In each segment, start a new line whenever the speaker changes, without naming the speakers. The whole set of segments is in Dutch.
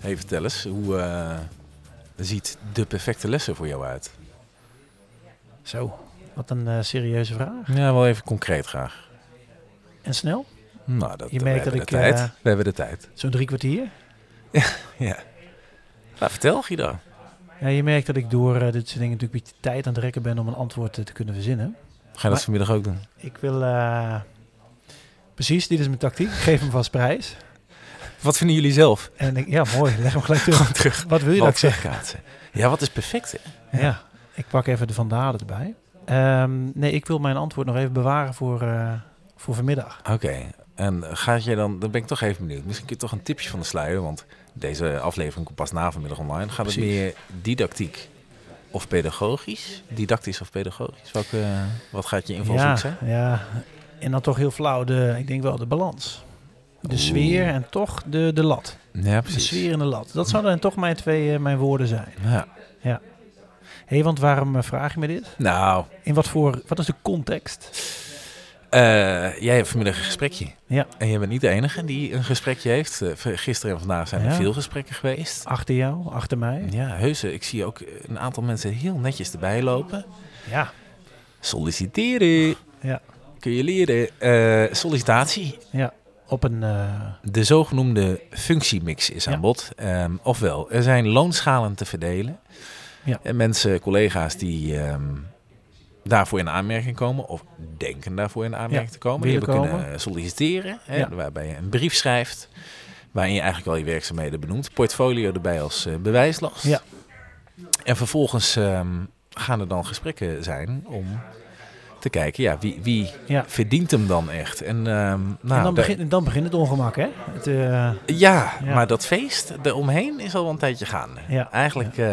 Hey, vertel eens, hoe eh, ziet de perfecte lessen voor jou uit?
Zo, wat een eh, serieuze vraag.
Ja, wel even concreet graag.
En snel,
Nou, dat,
Je
we
merkt
hebben
dat
de
ik,
tijd.
eh,
We hebben de tijd.
zo'n drie kwartier.
Ja. Nou, vertel Guido.
Ja, je merkt dat ik door eh, dit soort dingen natuurlijk een beetje tijd aan het rekken ben om een antwoord eh, te kunnen verzinnen.
Ga je dat
Maar-
vanmiddag ook doen?
Ik wil... eh, precies, dit is mijn tactiek. Ik Geef hem vast prijs.
Wat vinden jullie zelf?
En ik, ja, mooi. Leg hem gelijk terug.
Gewoon terug.
Wat wil je dat ik
Wat
zeg?
zeg kaatsen? Ja, wat is perfect? Hè?
Ja, ik pak even de vandalen erbij. Ehm, nee, ik wil mijn antwoord nog even bewaren voor, eh, voor vanmiddag.
Oké, en gaat je dan, dan ben ik toch even benieuwd. Misschien kun je toch een tipje van de sluier, want deze aflevering komt pas na vanmiddag online. Gaat het
Precies.
meer didactiek of pedagogisch? Didactisch of pedagogisch? Welke, wat gaat je invalshoek
ja,
zijn?
ja, en dan toch heel flauw de, ik denk wel de balans. De
Oeh.
sfeer en toch de, de lat.
Ja,
De
precies.
sfeer in de lat. Dat zouden dan toch mijn twee eh, mijn woorden zijn.
Ja.
Hé, want waarom eh, vraag je me dit?
Nou,
In wat voor... Wat is de context?
Eh, jij hebt vanmiddag een gesprekje.
Ja.
En jij bent niet de enige die een gesprekje heeft. Eh, v- Gisteren en vandaag zijn er
Ja.
veel gesprekken geweest.
Achter jou, achter mij?
Ja, heuse. Ik zie ook een aantal mensen heel netjes erbij lopen.
Ja.
Solliciteren.
Ja.
Kun je leren. Eh, sollicitatie.
Ja. Op een... eh,
De zogenoemde functiemix is aan
Ja.
bod. Ehm, ofwel, er zijn loonschalen te verdelen.
Ja.
En mensen, collega's die ehm, daarvoor in aanmerking komen, of denken daarvoor in aanmerking
Ja,
te komen, die
willen
hebben
komen.
kunnen eh, solliciteren, hè,
Ja.
waarbij je een brief schrijft, waarin je eigenlijk al je werkzaamheden benoemt, portfolio erbij als eh, bewijslast.
Ja.
En vervolgens ehm, gaan er dan gesprekken zijn om te kijken, ja, wie, wie
ja.
verdient hem dan echt? En, ehm, nou,
en dan,
daar-
begint dan begint het ongemak, hè? Het, eh,
ja,
Ja.
maar dat feest eromheen is al wel een tijdje gaande.
Ja.
Eigenlijk eh,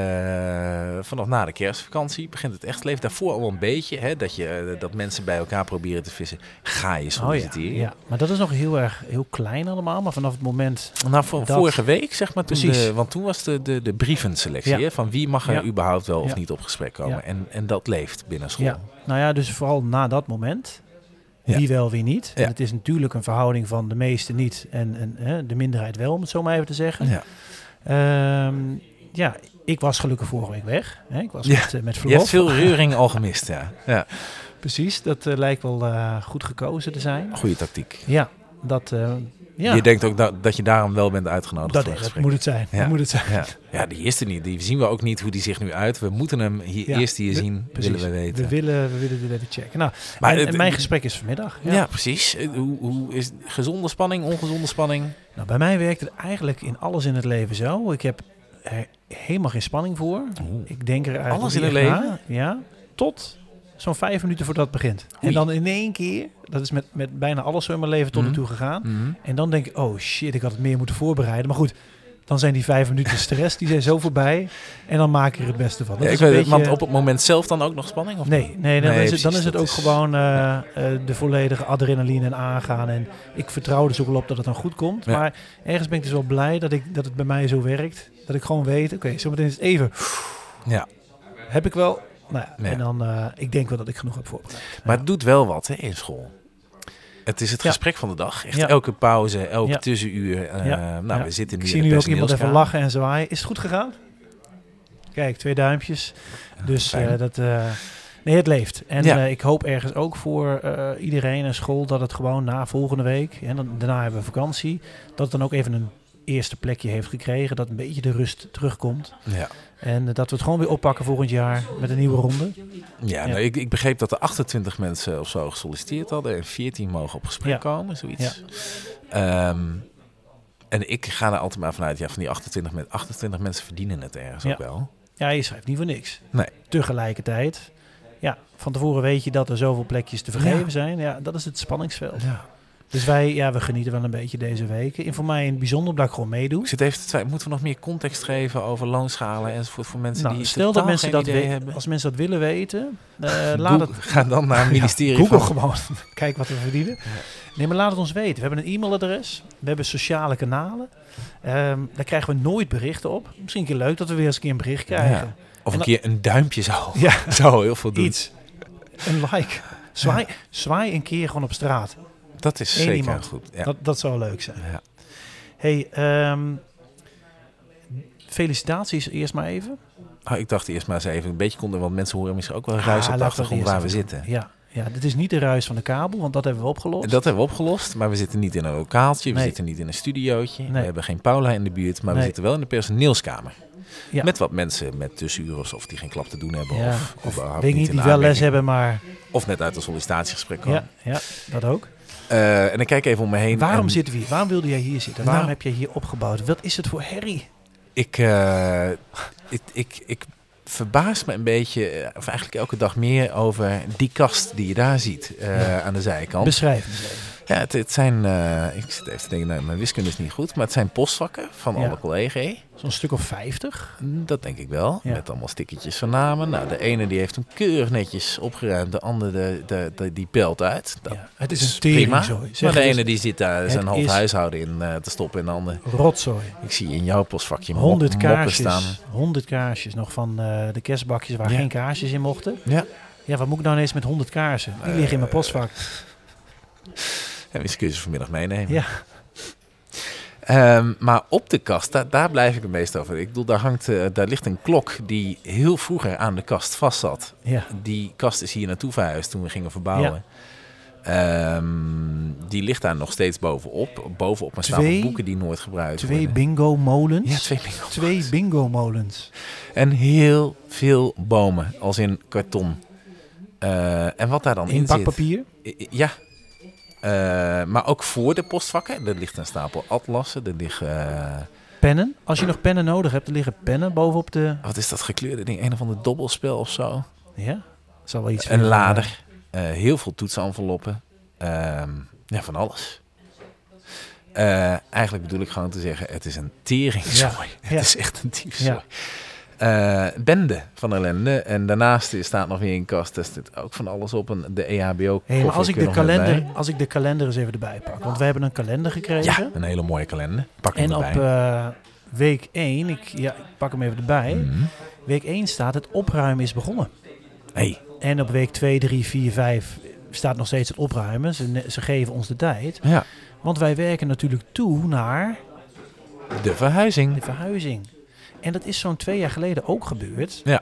vanaf na de kerstvakantie begint het echt leven. Daarvoor al een beetje, hè, dat, je, eh, dat mensen bij elkaar proberen te vissen. Ga je
oh ja,
solliciteren?
ja. Maar dat is nog heel erg heel klein allemaal. Maar vanaf het moment...
Nou, voor,
Dat-
vorige week zeg maar, toen
Precies.
de, want toen was de, de, de brievenselectie.
Ja.
Hè, van wie mag er
Ja.
überhaupt wel of
Ja.
niet op gesprek komen.
Ja.
En, en dat leeft binnen school.
Ja. Nou ja, dus vooral na dat moment.
Ja.
Wie wel, wie niet. En
Ja.
het is natuurlijk een verhouding van de meeste niet en, en hè, de minderheid wel, om het zo maar even te zeggen.
Ja.
Ehm, ja, ik was gelukkig vorige week weg. Hè? Ik was
Ja,
met, eh, met
Je hebt
verlof.
veel reuring al gemist, ja. ja.
Precies, dat eh, lijkt wel eh, goed gekozen te zijn.
Goede tactiek.
Ja, dat, eh, ja,
Je denkt ook dat, dat je daarom wel bent uitgenodigd
dat,
voor
dat
het gesprek.
moet het zijn.
Ja.
Dat moet het zijn.
Ja. ja, die is er niet. Die zien we ook niet hoe die zich nu uit. We moeten hem hier
Ja,
eerst hier
we-
zien, willen we weten.
We willen, we willen dit even checken. Nou,
Maar
en,
het-
en mijn gesprek is vanmiddag.
ja. precies. Eh, Hoe, hoe is gezonde spanning, ongezonde spanning?
Nou, bij mij werkt het eigenlijk in alles in het leven zo. Ik heb er helemaal geen spanning voor. Ik denk er eigenlijk
Alles
niet
in het
echt
leven?
na. Ja, tot zo'n vijf minuten voordat het begint.
Oei.
En dan in één keer, dat is met, met bijna alles zo in mijn leven tot
Mhm.
nu toe gegaan.
Mhm.
En dan denk ik, oh shit, ik had het meer moeten voorbereiden. Maar goed, dan zijn die vijf minuten stress, die zijn zo voorbij. En dan maak ik er het beste van. Dat
Ja, ik
is een
weet het,
beetje-
want op het moment zelf dan ook nog spanning? Of
Nee, nee, dan,
Nee,
is, het, dan
precies,
is het
dat
ook
is-
gewoon eh, eh, de volledige adrenaline en aangaan. En ik vertrouw er dus ook wel op dat het dan goed komt.
Ja.
Maar ergens ben ik dus wel blij dat, ik, dat het bij mij zo werkt. Dat ik gewoon weet, oké, zometeen is het even.
Ja.
Heb ik wel... Nou ja,
Ja.
en dan, eh, ik denk wel dat ik genoeg heb voorbereid.
Maar het doet wel wat hè, in school. Het is het
Ja.
gesprek van de dag. Echt
Ja.
elke pauze, elk
Ja.
tussenuur. eh,
Ja.
Nou,
Ja.
we zitten nu
Ik
in
zie
de
nu ook iemand even
personeelskamer.
lachen en zwaaien. Is het goed gegaan? Kijk, twee duimpjes. Dus
fijn.
eh, dat... eh, nee, het leeft. En
Ja.
eh, ik hoop ergens ook voor eh, iedereen en school dat het gewoon na volgende week... En dan, daarna hebben we vakantie. Dat het dan ook even een eerste plekje heeft gekregen. Dat een beetje de rust terugkomt.
Ja,
En eh, dat we het gewoon weer oppakken volgend jaar met een nieuwe ronde.
ja, nou, ik, ik begreep dat er 28 mensen of zo gesolliciteerd hadden. En 14 mogen op gesprek
Ja.
komen, zoiets. Ehm, en ik ga er altijd maar vanuit, ja, van die 28, men- 28 mensen verdienen het ergens
Ja.
ook wel.
Ja, je schrijft niet voor niks.
Nee.
Tegelijkertijd... Ja, van tevoren weet je dat er zoveel plekjes te vergeven
Ja.
zijn. Ja, dat is het spanningsveld.
Ja.
Dus wij, ja, we genieten wel een beetje deze weken. En voor mij in het bijzonder omdat ik gewoon meedoe.
Ik zit even te twijfelen, moeten we nog meer context geven over loonschalen enzovoort voor mensen
Nou,
die
stel dat mensen dat
idee
we-
hebben?
als mensen dat willen weten, eh, laat
Google-
het
Ga dan naar het ministerie
Google
van...
gewoon. Kijk wat we verdienen. Nee, maar laat het ons weten. We hebben een e-mailadres. We hebben sociale kanalen. Ehm, daar krijgen we nooit berichten op. Misschien een keer leuk dat we weer eens een keer een bericht krijgen.
Of
En
een
dan-
keer een duimpje zou,
Ja,
zou heel veel doen.
iets. Een like. Zwaai, zwaai een keer gewoon op straat.
Dat is
Eén
zeker
iemand.
goed. Ja.
Dat, dat zou leuk zijn.
Ja.
Hey, ehm, felicitaties eerst maar even.
Ah, ik dacht eerst maar eens even een beetje konden, want mensen horen misschien ook wel ruis
Ah,
op de
laten we
achtergrond
eerst
waar we
even-
zitten.
Ja, ja, dit is niet de ruis van de kabel, want dat hebben we opgelost.
En Dat hebben we opgelost, maar we zitten niet in een lokaaltje, we
Nee.
zitten niet in een studiootje, we
Nee.
hebben geen Paula in de buurt, maar we
Nee.
zitten wel in de personeelskamer.
Ja.
Met wat mensen met tussenurers of die geen klap te doen hebben
Ja,
of, überhaupt
Weet ik niet,
in de
die wel les
aanmerking-
hebben, maar...
Of net uit een sollicitatiegesprek komen.
Ja, ja, dat ook.
Eh, en ik kijk even om me heen.
Waarom
en
zitten we hier? Waarom wilde jij hier zitten? Waarom
Nou.
heb jij hier opgebouwd? Wat is het voor herrie?
Ik, eh, ik, ik, ik verbaas me een beetje, eh, of eigenlijk elke dag meer, over die kast die je daar ziet eh, aan de zijkant.
Beschrijf het eens even.
Ja, het, het zijn, eh, ik zit even te denken, nou, mijn wiskunde is niet goed, maar het zijn postvakken van
Ja.
alle collega's.
Zo'n stuk of 50.
Dat denk ik wel,
Ja.
met allemaal stickertjes van namen. Nou, de ene die heeft hem keurig netjes opgeruimd, de andere de, de, de- die pelt uit. Dat
Ja, het is
is
een
prima,
teringzooi. Zeg
maar de
het
ene
eens.
die zit daar
het
zijn half
is-
huishouden in eh, te stoppen en de ander...
Rotzooi.
Ik zie in jouw postvakje mop-
100
moppen
kaarsjes.
staan.
100 kaarsjes nog van eh, de kerstbakjes waar
Ja.
geen kaarsjes in mochten.
Ja,
Ja, wat moet ik nou ineens met 100 kaarsen?
Eh,
Die liggen in mijn postvak.
en misschien kun je ze vanmiddag meenemen.
Ja.
Ehm, maar op de kast, daar, daar blijf ik het meest over. Ik bedoel, daar, hangt, eh, daar ligt een klok die heel vroeger aan de kast vast zat.
Ja.
Die kast is hier naartoe verhuisd toen we gingen verbouwen. Ehm, die ligt daar nog steeds bovenop. Bovenop een stapel
Twee-
boeken die nooit gebruikt
Twee
worden.
bingo molens.
Ja, twee bingo.
Twee bingo molens.
En heel veel bomen, als in karton. Eh, en wat daar dan in, zit.
In pakpapier.
I- i- Ja. Eh, maar ook voor de postvakken. Er ligt een stapel atlassen. Er liggen... eh,
Pennen. Als je nog pennen nodig hebt, er liggen pennen bovenop de...
wat is dat gekleurde ding? Een of ander dobbelspel of zo.
Ja, zal wel iets...
Een
van-
lader. eh, heel veel toetsenenveloppen. ehm, ja, van alles. Eh, eigenlijk bedoel ik gewoon te zeggen, het is een teringzooi.
Ja,
Het
ja.
is echt een teringzooi. Eh, bende van ellende. En daarnaast staat nog weer een kast. Daar zit ook van alles op. Een, de E EHBO.
Hé, maar
koffer
als ik,
kun je
de
nog net
kalender, als ik de kalender eens even erbij pak. Want wij hebben een kalender
bij.
gekregen.
Ja, een hele mooie kalender. Pak hem
En op
erbij.
eh, week 1, ik, ja, ik pak hem even erbij.
Mhm.
Week 1 staat het opruimen is begonnen.
Hey,
En op week 2, 3, 4, 5 staat nog steeds het opruimen. Ze, ne- ze geven ons de tijd.
ja,
Want wij werken natuurlijk toe naar
de verhuizing.
de verhuizing. En dat is zo'n twee jaar geleden ook gebeurd.
Ja.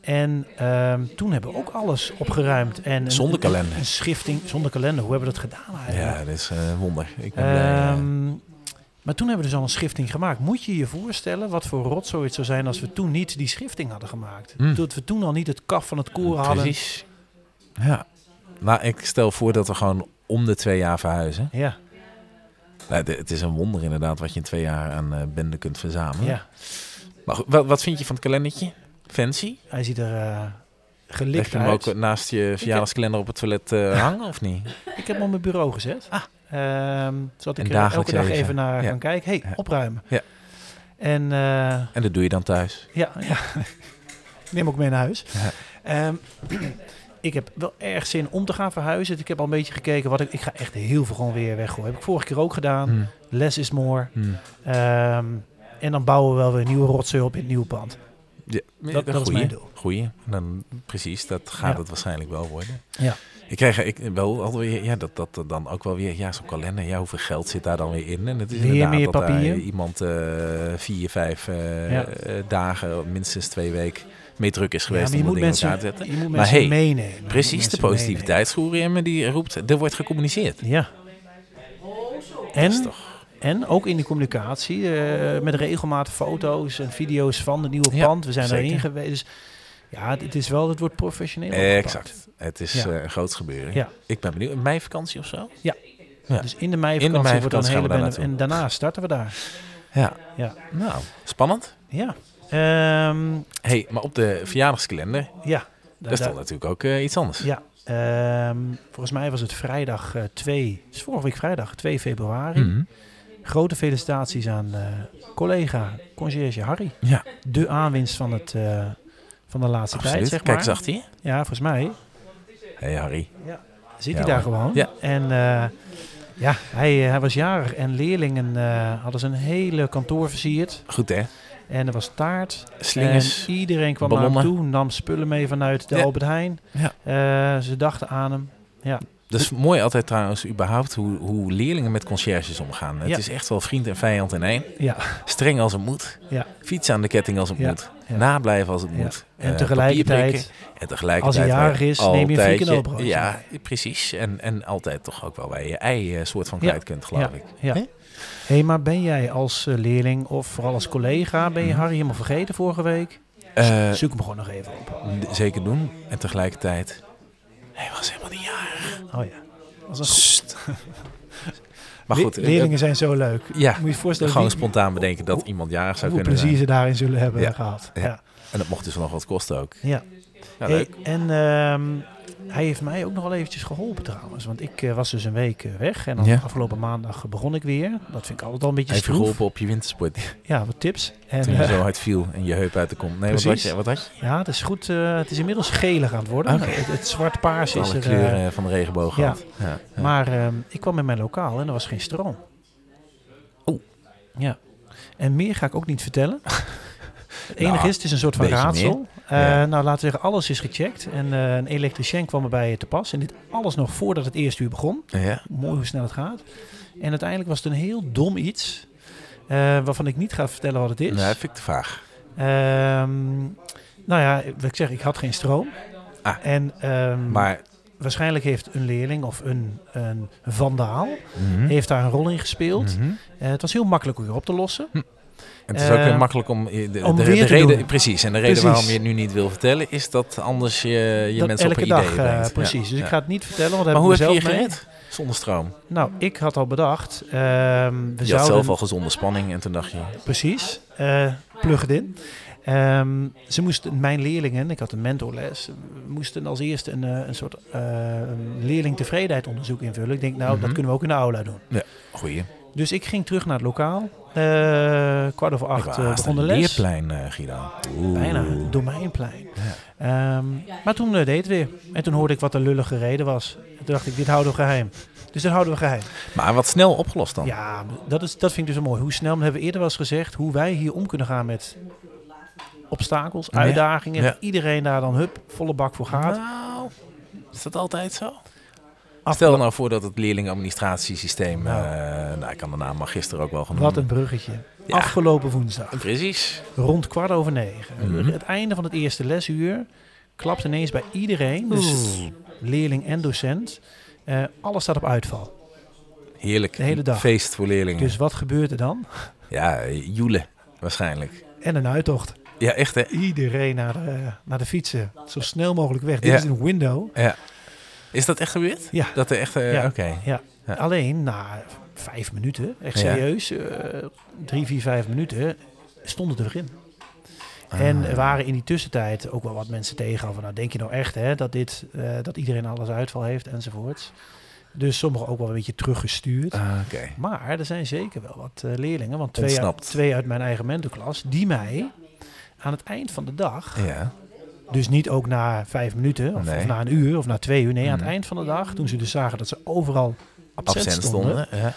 En ehm, toen hebben we ook alles opgeruimd. En een-
Zonder kalender.
Een schifting zonder kalender. Hoe hebben we dat gedaan
Ja,
eigenlijk?
dat is eh, een wonder. Ik ben blij, eh.
Ehm, maar toen hebben we dus al een schifting gemaakt. Moet je je voorstellen wat voor rotzooi het zou zijn als we toen niet die schifting hadden gemaakt?
Hmm.
Dat we toen al niet het kaf van het koren hadden.
Precies. Ja. Nou, ik stel voor dat we gewoon om de twee jaar verhuizen.
Ja,
Nou, de- het is een wonder inderdaad wat je in twee jaar aan eh bende kunt verzamelen.
ja,
Maar goed, wat, wat vind je van het kalendertje? Fancy?
hij ziet er eh
Leg
gelikt
je hem
uit.
ook naast je verjaardagskalender op het toilet eh, hangen of niet?
Ik heb hem op mijn bureau gezet.
Ah.
Ehm, zodat
En
ik er
dagelijks
elke dag
even.
even naar
Ja.
kan kijken. hey,
Ja.
opruimen.
Ja.
En eh,
En dat doe je dan thuis.
ja, ja. ik neem ook mee naar huis.
Ja.
Ehm, ik heb wel erg zin om te gaan verhuizen. Dus Ik heb al een beetje gekeken. Wat ik, ik ga echt heel veel gewoon weer weggooien. Heb ik vorige keer ook gedaan.
Hmm,
Less is more.
hmm.
Ehm, en dan bouwen we wel weer nieuwe rotzooi op in het nieuwe pand.
Ja,
dat is mijn doel.
Goeie. Dan, precies, dat gaat
Ja.
het waarschijnlijk wel worden.
Ja.
Ik krijg ik, wel alweer, ja, dat, dat er dan ook wel weer, ja, zo'n kalender, ja, hoeveel geld zit daar dan weer in? En het is
Weer
inderdaad
meer
dat daar
papier.
iemand eh, vier, vijf eh,
Ja.
eh, dagen, minstens twee weken mee druk is
Ja,
geweest
maar je
om dat
moet
ding in elkaar
mensen,
te zetten.
je moet mensen
Maar hey,
meenemen. Je moet
Precies, de
mensen
positiviteitsgoerim die roept, er wordt gecommuniceerd.
meenemen. Ja.
Dat is
En
toch-
En ook in de communicatie, eh, met regelmatig foto's en video's van het nieuwe
Ja,
pand. We zijn
zeker.
erin geweest. Dus ja, het- het is wel, het wordt professioneel. opgepakt.
Exact. Het is
Ja.
eh, een groot gebeuren.
Ja.
Ik ben benieuwd. Mei vakantie of zo? Ja.
Dus in de meivakantie wordt dan
meivakantie gaan
een hele
we daar
bende. En
naartoe.
daarna starten we daar.
Ja.
Ja.
Nou, spannend.
Ja. Ehm,
hey, maar op de verjaardagskalender,
ja.
daar stond natuurlijk ook eh, iets anders.
Ja. Ehm, volgens mij was het vrijdag eh 2, dus vorige week vrijdag 2 februari.
Mhm.
Grote felicitaties aan eh, collega, conciërge Harry.
Ja.
De aanwinst van, het, eh, van de laatste tijd,
Absoluut.
zeg maar.
Kijk, zag hij?
Ja, volgens mij
hey, Harry.
zit
Ja,
hij daar
hoor.
gewoon.
Ja.
En eh, ja, hij, eh, hij was jarig en leerlingen eh, hadden zijn hele kantoor versierd.
Goed hè?
En er was taart.
Slingers.
En iedereen kwam naar hem
ballonnen.
toe, nam spullen mee vanuit de
Ja.
Albert Heijn.
Ja.
Eh, ze dachten aan hem.
Dat is mooi altijd trouwens, überhaupt, hoe, hoe leerlingen met conciërges omgaan. Het
Ja.
is echt wel vriend en vijand in één.
Ja.
Streng als het moet.
Ja.
Fiets aan de ketting als het
Ja.
moet.
Ja.
Nablijven als het
Ja.
moet.
En
Eh, papier
tegelijkertijd,
prikken. En tegelijkertijd
als hij jarig
waar
is, neem je een
altijd
flikken op, Roos.
Ja, precies. En, en altijd toch ook wel waar je ei eh, soort van
Ja.
kwijt kunt, geloof ik.
ja.
Hè?
Hé, maar ben jij als eh, leerling of vooral als collega, ben je
Mhm.
Harry helemaal vergeten vorige week?
Eh,
Zoek hem gewoon nog even op.
d- zeker doen. En tegelijkertijd... Hij was helemaal niet jarig.
Oh ja. Als een
Sst. maar goed,
Le-
eh,
leerlingen zijn zo leuk.
ja,
Moet je je voorstellen
gewoon
wie-
spontaan bedenken dat iemand jarig zou
hoe
kunnen
plezier
zijn.
ze daarin zullen hebben
Ja.
gehad.
Ja.
Ja.
En dat mocht dus nog wat kosten ook.
Ja.
Ja,
Hey,
leuk.
en ehm, hij heeft mij ook nog wel eventjes geholpen trouwens. Want ik eh, was dus een week eh, weg. En dan
Ja.
afgelopen maandag eh, begon ik weer. Dat vind ik altijd al een beetje
Hij heeft je
stroef.
geholpen op je wintersport
Ja, wat tips. En,
toen je
eh,
zo hard viel en je heup uit de kom. Nee, wat had
Precies.
je? Wat had je?
ja, het is goed. eh, het is inmiddels gelig aan het worden.
Oké.
Het, het zwart-paars is
Alle
er. eh,
kleuren van de regenboog
ja.
gehad. Ja. ja.
Maar ehm, ik kwam in mijn lokaal en er was geen stroom.
Oeh.
Ja. En meer ga ik ook niet vertellen. Het enige
Nou,
is, het is een soort van
beetje
raadsel. Eh,
Ja.
Nou, laten we zeggen, alles is gecheckt. En eh, een elektricien kwam erbij te pas. En dit alles nog voordat het eerste uur begon.
ja.
Mooi hoe snel het gaat. En uiteindelijk was het een heel dom iets. eh, waarvan ik niet ga vertellen wat het is.
Nou, dat vind ik te vaag.
Ehm, nou ja, wat ik zeg, ik had geen stroom.
Ah.
En ehm,
Maar
waarschijnlijk heeft een leerling of een, een vandaal
mhm,
heeft daar een rol in gespeeld.
mhm.
Eh, het was heel makkelijk om je op te lossen.
En het is ook
Eh,
weer makkelijk om... je- De,
om
de,
weer
de
te
reden,
doen.
Precies. En de reden
Precies.
waarom je het nu niet wil vertellen is dat anders je, je
Dat
mensen op
elke
een
dag,
idee
eh,
brengt. Ja,
precies. Dus
ja.
ik ga het niet vertellen, want daar
Maar
heb
hoe heb
ik
je je
mezelf mee.
gered? Zonder stroom. Je
Nou, ik had al bedacht, ehm, we
had
zouden...
zelf al gezonde spanning en toen dacht je...
Precies, eh plug het in. Ehm, ze moesten, mijn leerlingen, ik had een mentorles, moesten als eerste een, eh, een soort eh, een leerlingtevredenheidsonderzoek invullen. Ik denk, nou, dat
Mhm.
kunnen we ook in de aula doen.
Goeie.
Dus ik ging terug naar het lokaal. Eh, kwart over
Ik
acht
was
eh,
haast
begon
een
de les.
leerplein, eh, Guido. Oeh.
Bijna, het domeinplein. Ehm, maar toen eh, deed het weer. En toen hoorde ik wat de lullige reden was. En toen dacht ik, dit houden we geheim. Dus dat houden we geheim.
Maar wat snel opgelost dan.
Ja, dat, is, dat vind ik dus wel mooi. Hoe snel, dat hebben we eerder wel eens gezegd, hoe wij hier om kunnen gaan met obstakels,
Ja.
uitdagingen.
Ja.
Iedereen daar dan, hup, volle bak voor gaat.
Nou, is dat altijd zo?
Af-
Stel nou voor dat het leerlingadministratiesysteem... eh
Nou.
nou, ik kan de naam magister ook wel genoemd.
Wat een bruggetje.
Ja.
Afgelopen woensdag,
Precies.
rond kwart over negen.
Mhm.
Het einde van het eerste lesuur klapt ineens bij iedereen, dus leerling en docent, eh, alles staat op uitval.
Heerlijk.
De hele dag.
Feest voor leerlingen.
Dus wat gebeurt er dan?
Ja, joelen waarschijnlijk.
En een uittocht.
Ja, echt hè?
Iedereen naar de, naar de fietsen. Zo snel mogelijk weg. Dit
Ja.
is een window.
Is dat echt gebeurd?
Ja.
Dat er echt... eh,
Ja.
Oké.
Ja.
Ja.
Alleen na vijf minuten, echt
Ja.
serieus, eh, drie, vier, vijf minuten, stonden er weer in.
Ah.
En eh, er waren in die tussentijd ook wel wat mensen tegen. Van, nou, denk je nou echt hè, dat, dit, eh, dat iedereen alles uitval heeft enzovoorts. Dus sommigen ook wel een beetje teruggestuurd.
Ah, Oké.
Maar er zijn zeker wel wat eh, leerlingen, want twee uit,
Ontsnapt.
twee uit mijn eigen mentorklas, die mij aan het eind van de dag
Ja.
Dus niet ook na vijf minuten of,
Nee.
of na een uur of na twee uur. Nee, aan het
Mhm.
eind van de dag, toen ze dus zagen dat ze overal absent,
Absent
stonden.
stonden. Ja.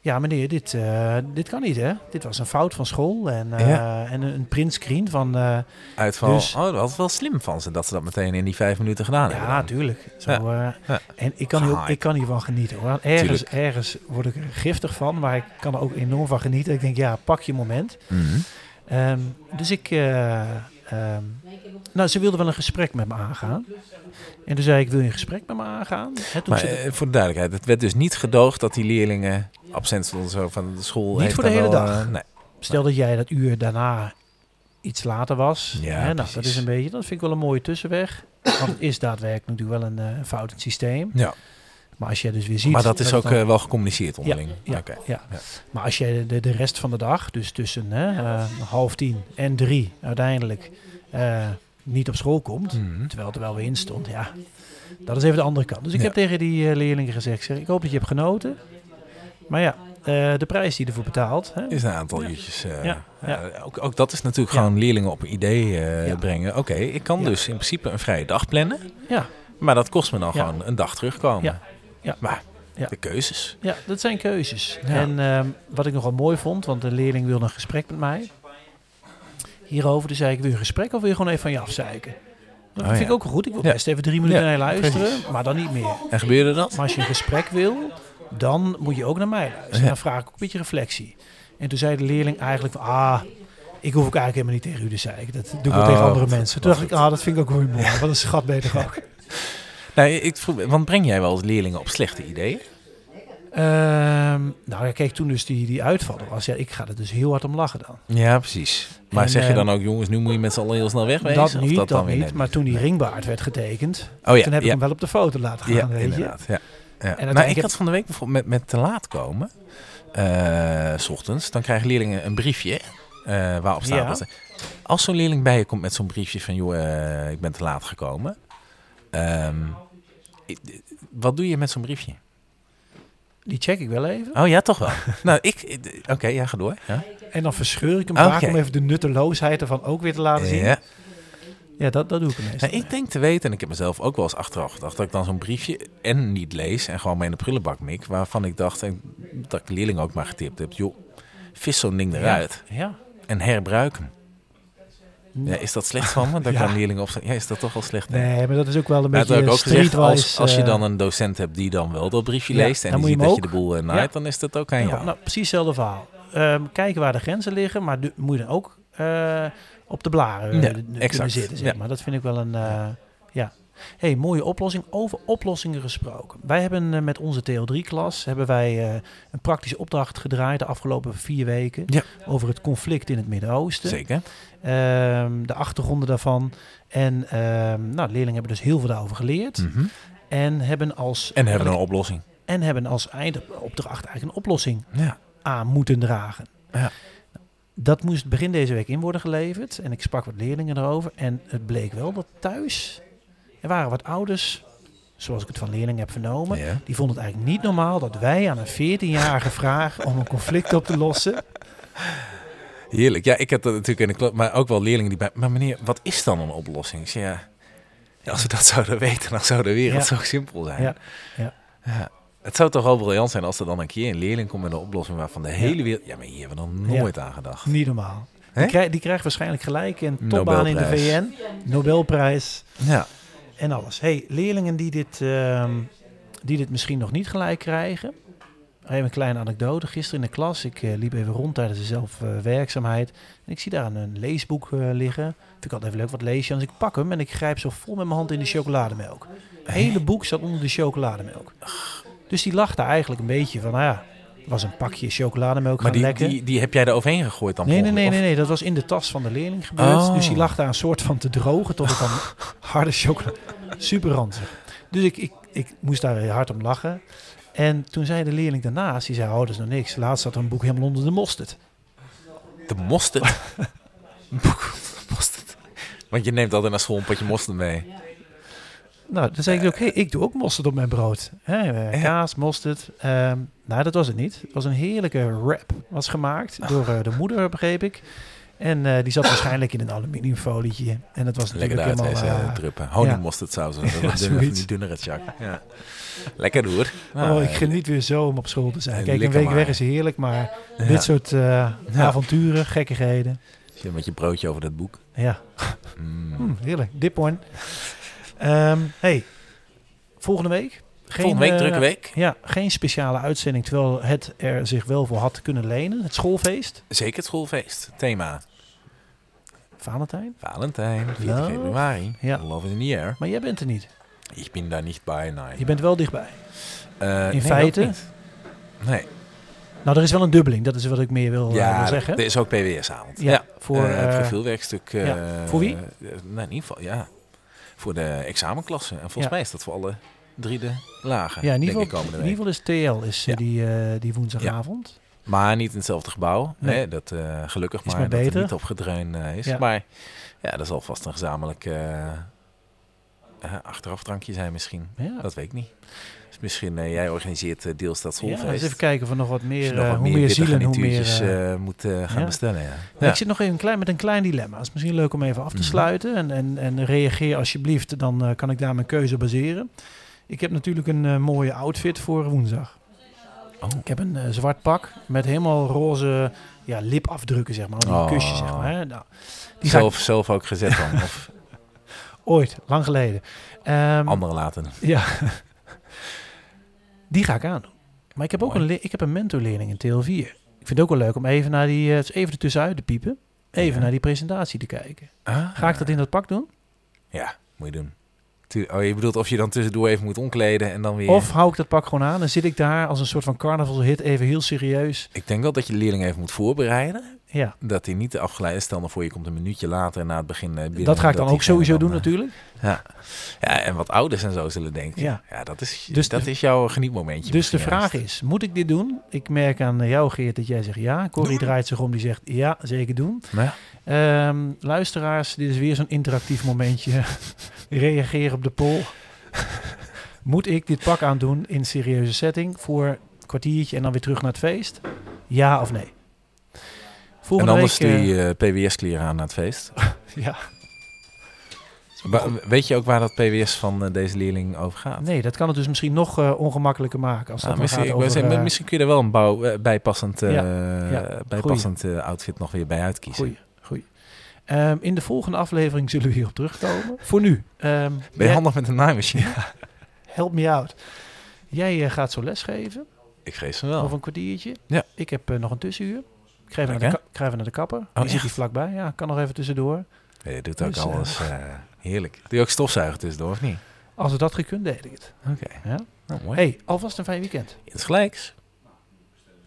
Ja, meneer, dit, eh, dit kan niet, hè? Dit was een fout van school en, eh, en een printscreen van... eh,
Uitval.
Dus-
Oh, dat was wel slim van ze dat ze dat meteen in die vijf minuten gedaan hebben.
ja,
dan.
tuurlijk. Zo, eh,
Ja.
En ik kan, hier ook,
Gehyped.
ik kan hiervan genieten, hoor. Ergens,
Tuurlijk.
ergens word ik er giftig van, maar ik kan er ook enorm van genieten. Ik denk, ja, pak je moment.
Mhm.
Ehm, dus ik... eh, ehm, nou, ze wilde wel een gesprek met me aangaan. En toen zei ik, wil je een gesprek met me aangaan? Hè, toen
Maar
ze de-
eh, voor de duidelijkheid, het werd dus niet gedoogd dat die leerlingen absent stonden zo van de school.
Niet
heeft
voor de
dan
hele
wel,
dag.
eh, nee.
Stel dat jij dat uur daarna iets later was.
Ja,
hè, nou, dat
precies.
is een beetje, dat vind ik wel een mooie tussenweg. Want het is daadwerkelijk natuurlijk wel een eh, foutend systeem.
Ja.
Maar als jij dus weer ziet.
maar dat is
het
ook
dan-
eh, wel gecommuniceerd onderling.
ja.
Oké.
ja.
ja.
Maar als jij de, de rest van de dag, dus tussen hè, eh, half tien en drie uiteindelijk eh, niet op school komt.
Mhm.
Terwijl het er wel weer in stond, ja. Dat is even de andere kant. Dus ik
Ja.
heb tegen die eh, leerlingen gezegd, ik zeg, ik hoop dat je hebt genoten. Maar ja, eh, de prijs die je ervoor betaalt, hè,
Is een aantal uurtjes. eh,
Ja, ja.
eh, ook, ook dat is natuurlijk
Ja.
gewoon leerlingen op een idee eh,
Ja.
brengen. Oké, ik kan
Ja.
dus in principe een vrije dag plannen.
Ja.
Maar dat kost me dan
Ja.
gewoon een dag terugkomen.
Ja. Ja.
Maar
Ja.
de keuzes.
Ja, dat zijn keuzes.
Ja.
En ehm, wat ik nogal mooi vond, want de leerling wilde een gesprek met mij hierover. Dus zei ik, wil je een gesprek of wil je gewoon even van je afzuiken? Dat
Oh,
vind
ja.
ik ook goed. Ik wil
Ja.
best even drie minuten
Ja,
naar je luisteren,
precies.
maar dan niet meer.
En gebeurde dat?
Maar als je een gesprek wil, dan moet je ook naar mij luisteren.
Ja.
Dan vraag ik ook een beetje reflectie. En toen zei de leerling eigenlijk van, ah, ik hoef ook eigenlijk helemaal niet tegen u te zeiken. Dat doe ik wel
Oh,
tegen andere
wat-
mensen. Toen
wat
dacht ik, ah, dat vind ik ook wel mooi. Wat een schat ben je toch ook.
Nee, Nou, ik vroeg, want breng jij wel eens leerlingen op slechte ideeën?
Ehm, nou ja, kijk, toen dus die, die uitval er was, ja, ik ga er dus heel hard om lachen dan.
Ja, precies. Maar
En,
zeg je
eh,
dan ook, jongens, nu moet je met z'n allen heel snel wegwezen?
Dat
Of
niet, dat,
dan weer
niet.
net
Maar toen die ringbaard werd getekend,
Oh ja,
toen heb ik
ja,
hem wel op de foto laten gaan,
ja,
weet je.
inderdaad. Ja. Ja.
En
nou, ik
uiteindelijk-
had van de week bijvoorbeeld met, met te laat komen, eh, s ochtends, dan krijgen leerlingen een briefje eh, waarop staat
Ja.
dat ze- Als zo'n leerling bij je komt met zo'n briefje van, joh, eh, ik ben te laat gekomen. ehm, ik- wat doe je met zo'n briefje?
Die check ik wel even.
Oh ja, toch wel. nou, ik... ik- Oké, ja, ga door. Ja,
En dan verscheur ik hem
Oké.
vaak om even de nutteloosheid ervan ook weer te laten zien.
Eh, ja.
Ja, dat, dat doe ik meestal.
Nou, ik denk te weten, en ik heb mezelf ook wel eens achteraf gedacht, dat ik dan zo'n briefje en niet lees en gewoon mee in de prullenbak mik, waarvan ik dacht, en dat ik de leerling ook maar getipt heb, joh, vis zo'n ding eruit
Ja.
en herbruik hem. Ja, is dat slecht van me? Dat ik
Mm. Ja.
dan leerlingen opstaan. Ja, is dat toch wel slecht? hè?
Nee, maar dat is ook wel een
Maar dat heb ik
beetje
ook gezegd, als,
streetwise.
als je
eh,
dan een docent hebt die dan wel dat briefje
Ja,
leest en
dan
die
moet je
ziet
hem
dat je de
ook.
boel eh, naait, dan is dat ook aan
ja,
jou.
nou, precies hetzelfde verhaal. Ehm, kijken waar de grenzen liggen, maar du- moet je dan ook eh, op de blaren eh,
Ja,
d- kunnen
exact.
zitten. Zeg
Ja.
Maar dat vind ik wel een... eh, ja. hey, mooie oplossing. Over oplossingen gesproken. Wij hebben eh, met onze TO3-klas hebben wij eh, een praktische opdracht gedraaid de afgelopen vier weken
Ja.
over het conflict in het Midden-Oosten.
Zeker.
Ehm, de achtergronden daarvan. En ehm, nou, de leerlingen hebben dus heel veel daarover geleerd.
Mhm.
En hebben als
En hebben we een oplossing.
en hebben als eindopdracht eigenlijk een oplossing
Ja.
aan moeten dragen.
Ja.
Dat moest begin deze week in worden geleverd. En ik sprak wat leerlingen erover. En het bleek wel dat thuis er waren wat ouders, zoals ik het van leerlingen heb vernomen.
Ja.
Die vonden het eigenlijk niet normaal dat wij aan een 14-jarige vragen om een conflict op te lossen.
Heerlijk. Ja, ik heb dat natuurlijk in de klas, maar ook wel leerlingen die bij. Maar meneer, wat is dan een oplossing? Ik zeg, ja, ja, als we dat zouden weten, dan zou de wereld
Ja.
zo simpel zijn.
Ja, ja.
Ja. Het zou toch wel briljant zijn als er dan een keer een leerling komt met een oplossing waarvan de hele wereld. Ja, maar hier hebben we nog
Ja.
nooit aan gedacht.
Niet normaal.
Hè?
Die, krij- die krijgt waarschijnlijk gelijk een topbaan in de VN,
Nobelprijs.
Nobelprijs
Ja,
en alles. Hey, leerlingen die dit, ehm, die dit misschien nog niet gelijk krijgen. Even een kleine anekdote. Gisteren in de klas, ik eh, liep even rond tijdens de zelfwerkzaamheid. en ik zie daar een leesboek eh, liggen. Vind ik altijd even leuk, wat lees je? Dus ik pak hem en ik grijp zo vol met mijn hand in de chocolademelk. Het hele boek zat onder de chocolademelk. Dus die lachte eigenlijk een beetje van, nou ja, er was een pakje chocolademelk
maar
gaan
die,
lekken.
die, die heb jij er overheen gegooid dan? per
Nee, nee,
ongeluk,
nee,
of-
nee, nee, dat was in de tas van de leerling gebeurd.
Oh.
Dus die lag daar een soort van te drogen tot het dan harde chocola. Super ranzig. Dus ik, ik, ik moest daar weer hard om lachen. En toen zei de leerling daarnaast, die zei, oh, dat is nog niks. Laatst zat er een boek helemaal onder de mosterd.
De mosterd. mosterd. Want je neemt altijd naar school een potje mosterd mee.
Nou, dan zei ik ook, hey, ik doe ook mosterd op mijn brood. Hè,
Ja.
eh, kaas, mosterd. Ehm, nou, dat was het niet. Het was een heerlijke wrap. Was gemaakt
Ah.
door eh, de moeder, begreep ik. En eh, die zat waarschijnlijk in een aluminiumfolietje. En dat was
Lekker
natuurlijk
eruit
helemaal...
deze
eh,
druppen. Honingmosterdsaus. en zo,
Ja,
dat dunne-
zoiets.
die dunnere tjak. Ja. Lekker hoor.
oh,
Nou,
ik geniet weer zo om op school te zijn.
eh,
Kijk, een
lekker
week
maar.
weg is heerlijk, maar
ja.
dit soort eh, avonturen, gekkigheden.
Zit je met je broodje over dat boek.
Ja,
Mm.
hm, heerlijk. Dip one. Ehm, hey, volgende week. Geen,
Volgende week,
eh,
drukke week.
Ja, geen speciale uitzending, terwijl het er zich wel voor had kunnen lenen. Het schoolfeest,
Zeker het schoolfeest. Thema
Valentijn.
Valentijn, 14
Love.
februari.
Nou. Ja.
Love is in the air.
Maar jij bent er niet.
Ik ben daar niet bij, nee.
Je bent wel dichtbij.
Eh,
In
nee,
feite-
ook niet. Nee.
Nou, er is wel een dubbeling. Dat is wat ik meer wil, eh, wil
Ja,
zeggen.
er is ook PWS-avond.
Ja, voor,
voor het
eh,
profielwerkstuk. eh,
ja. Voor wie?
eh, nou, in ieder geval, ja. Voor de examenklassen. En volgens
Ja.
mij is dat voor alle drie de lagen.
eh, ja, in
denk
ieder,
ik,
geval,
komende
in ieder
week.
geval is TL is, eh,
Ja.
die, eh, die woensdagavond.
Maar niet in hetzelfde gebouw.
Nee.
Hè, dat, eh, gelukkig
Is
maar,
maar
dat er
beter.
niet op gedreun eh, is.
Ja.
Maar ja, dat zal vast een gezamenlijk eh, eh, achteraf drankje eh, zijn misschien.
Ja.
Dat weet ik niet. Dus misschien, eh, jij organiseert eh, deels dat
Ja,
schoolfeest.
eens even kijken of we nog wat
Als je
meer,
nog
eh,
wat
hoe meer
witte
zielen, hoe meer...
garnituurtjes,
eh,
eh, moet eh, gaan
ja.
bestellen. Ja.
Ik zit nog even klein, met een klein dilemma. Het is misschien leuk om even af te
Mhm.
sluiten. En, en, en reageer alsjeblieft, dan eh, kan ik daar mijn keuze baseren. Ik heb natuurlijk een eh, mooie outfit voor woensdag.
Oh.
Ik heb een eh, zwart pak met helemaal roze ja, lipafdrukken, zeg maar. Die
Oh.
kusjes, zeg maar. Hè. Nou, die ga ik-
zelf, zelf ook gezet dan. Of
ooit, lang geleden. Ehm,
anderen laten.
ja. die ga ik aandoen. Maar ik heb ook
Mooi.
een, le- ik heb een mentorleerling in TL4. Ik vind het ook wel leuk om even naar die, eh, dus even ertussenuit te piepen. Even
Ja.
naar die presentatie te kijken.
Ah,
Ga ik dat in dat pak doen?
Ja, moet je doen. Tu- Oh, je bedoelt of je dan tussendoor even moet omkleden en dan weer...
Of hou ik dat pak gewoon aan en zit ik daar als een soort van carnavalshit even heel serieus.
Ik denk wel dat je de leerling even moet voorbereiden.
Ja,
Dat hij niet afgeleid is. Stel nou voor, je komt een minuutje later na het begin eh, binnen.
dat ga ik dan ook
diegene
sowieso
dan,
doen
eh,
natuurlijk.
Ja, en wat ouders en zo zullen denken.
Ja.
Ja, dat, is,
Dus
dat
de-
is jouw genietmomentje.
Dus de
misschien
vraag
juist.
is, moet ik dit doen? Ik merk aan eh, jou Geert dat jij zegt ja. Corrie draait zich om, die zegt ja, zeker doen.
Ja.
Ehm, luisteraars, dit is weer zo'n interactief momentje. Reageer op de poll. moet ik dit pak aandoen in serieuze setting voor een kwartiertje en dan weer terug naar het feest? Ja of nee?
En
Volgende
anders
week... eh,
die PWS-kleren aan naar het feest.
ja.
Wa- weet je ook waar dat PWS van eh, deze leerling over gaat?
Nee, dat kan het dus misschien nog eh, ongemakkelijker maken. Als dat
Nou,
dan
misschien,
gaat
ik wou
over,
zeggen,
eh,
misschien kun je er wel een bouw, eh, bijpassend, eh,
Ja,
eh, bijpassend eh, outfit nog weer bij uitkiezen.
Goeie, goeie. Ehm, in de volgende aflevering zullen we hierop terugkomen. Voor nu. ehm,
Ben je
jij-
handig met een naaimachine?
help me out. Jij eh, gaat zo lesgeven,
Ik geef ze wel.
over een kwartiertje.
Oh. Ja.
Ik heb eh, nog een tussenuur. Ik ga even,
Leuk,
naar, de
hè?
ka- ik ga even naar de kapper. die zit
Oh, echt?
hier vlakbij. Ja, kan nog even tussendoor.
Nee, je doet ook
Dus, eh,
alles eh, heerlijk. Doe je ook stofzuigen tussendoor, of niet?
Als we dat gekund, deed ik het.
Oké.
Ja?
Nou, mooi.
Hey, alvast een fijn weekend.
Insgelijks.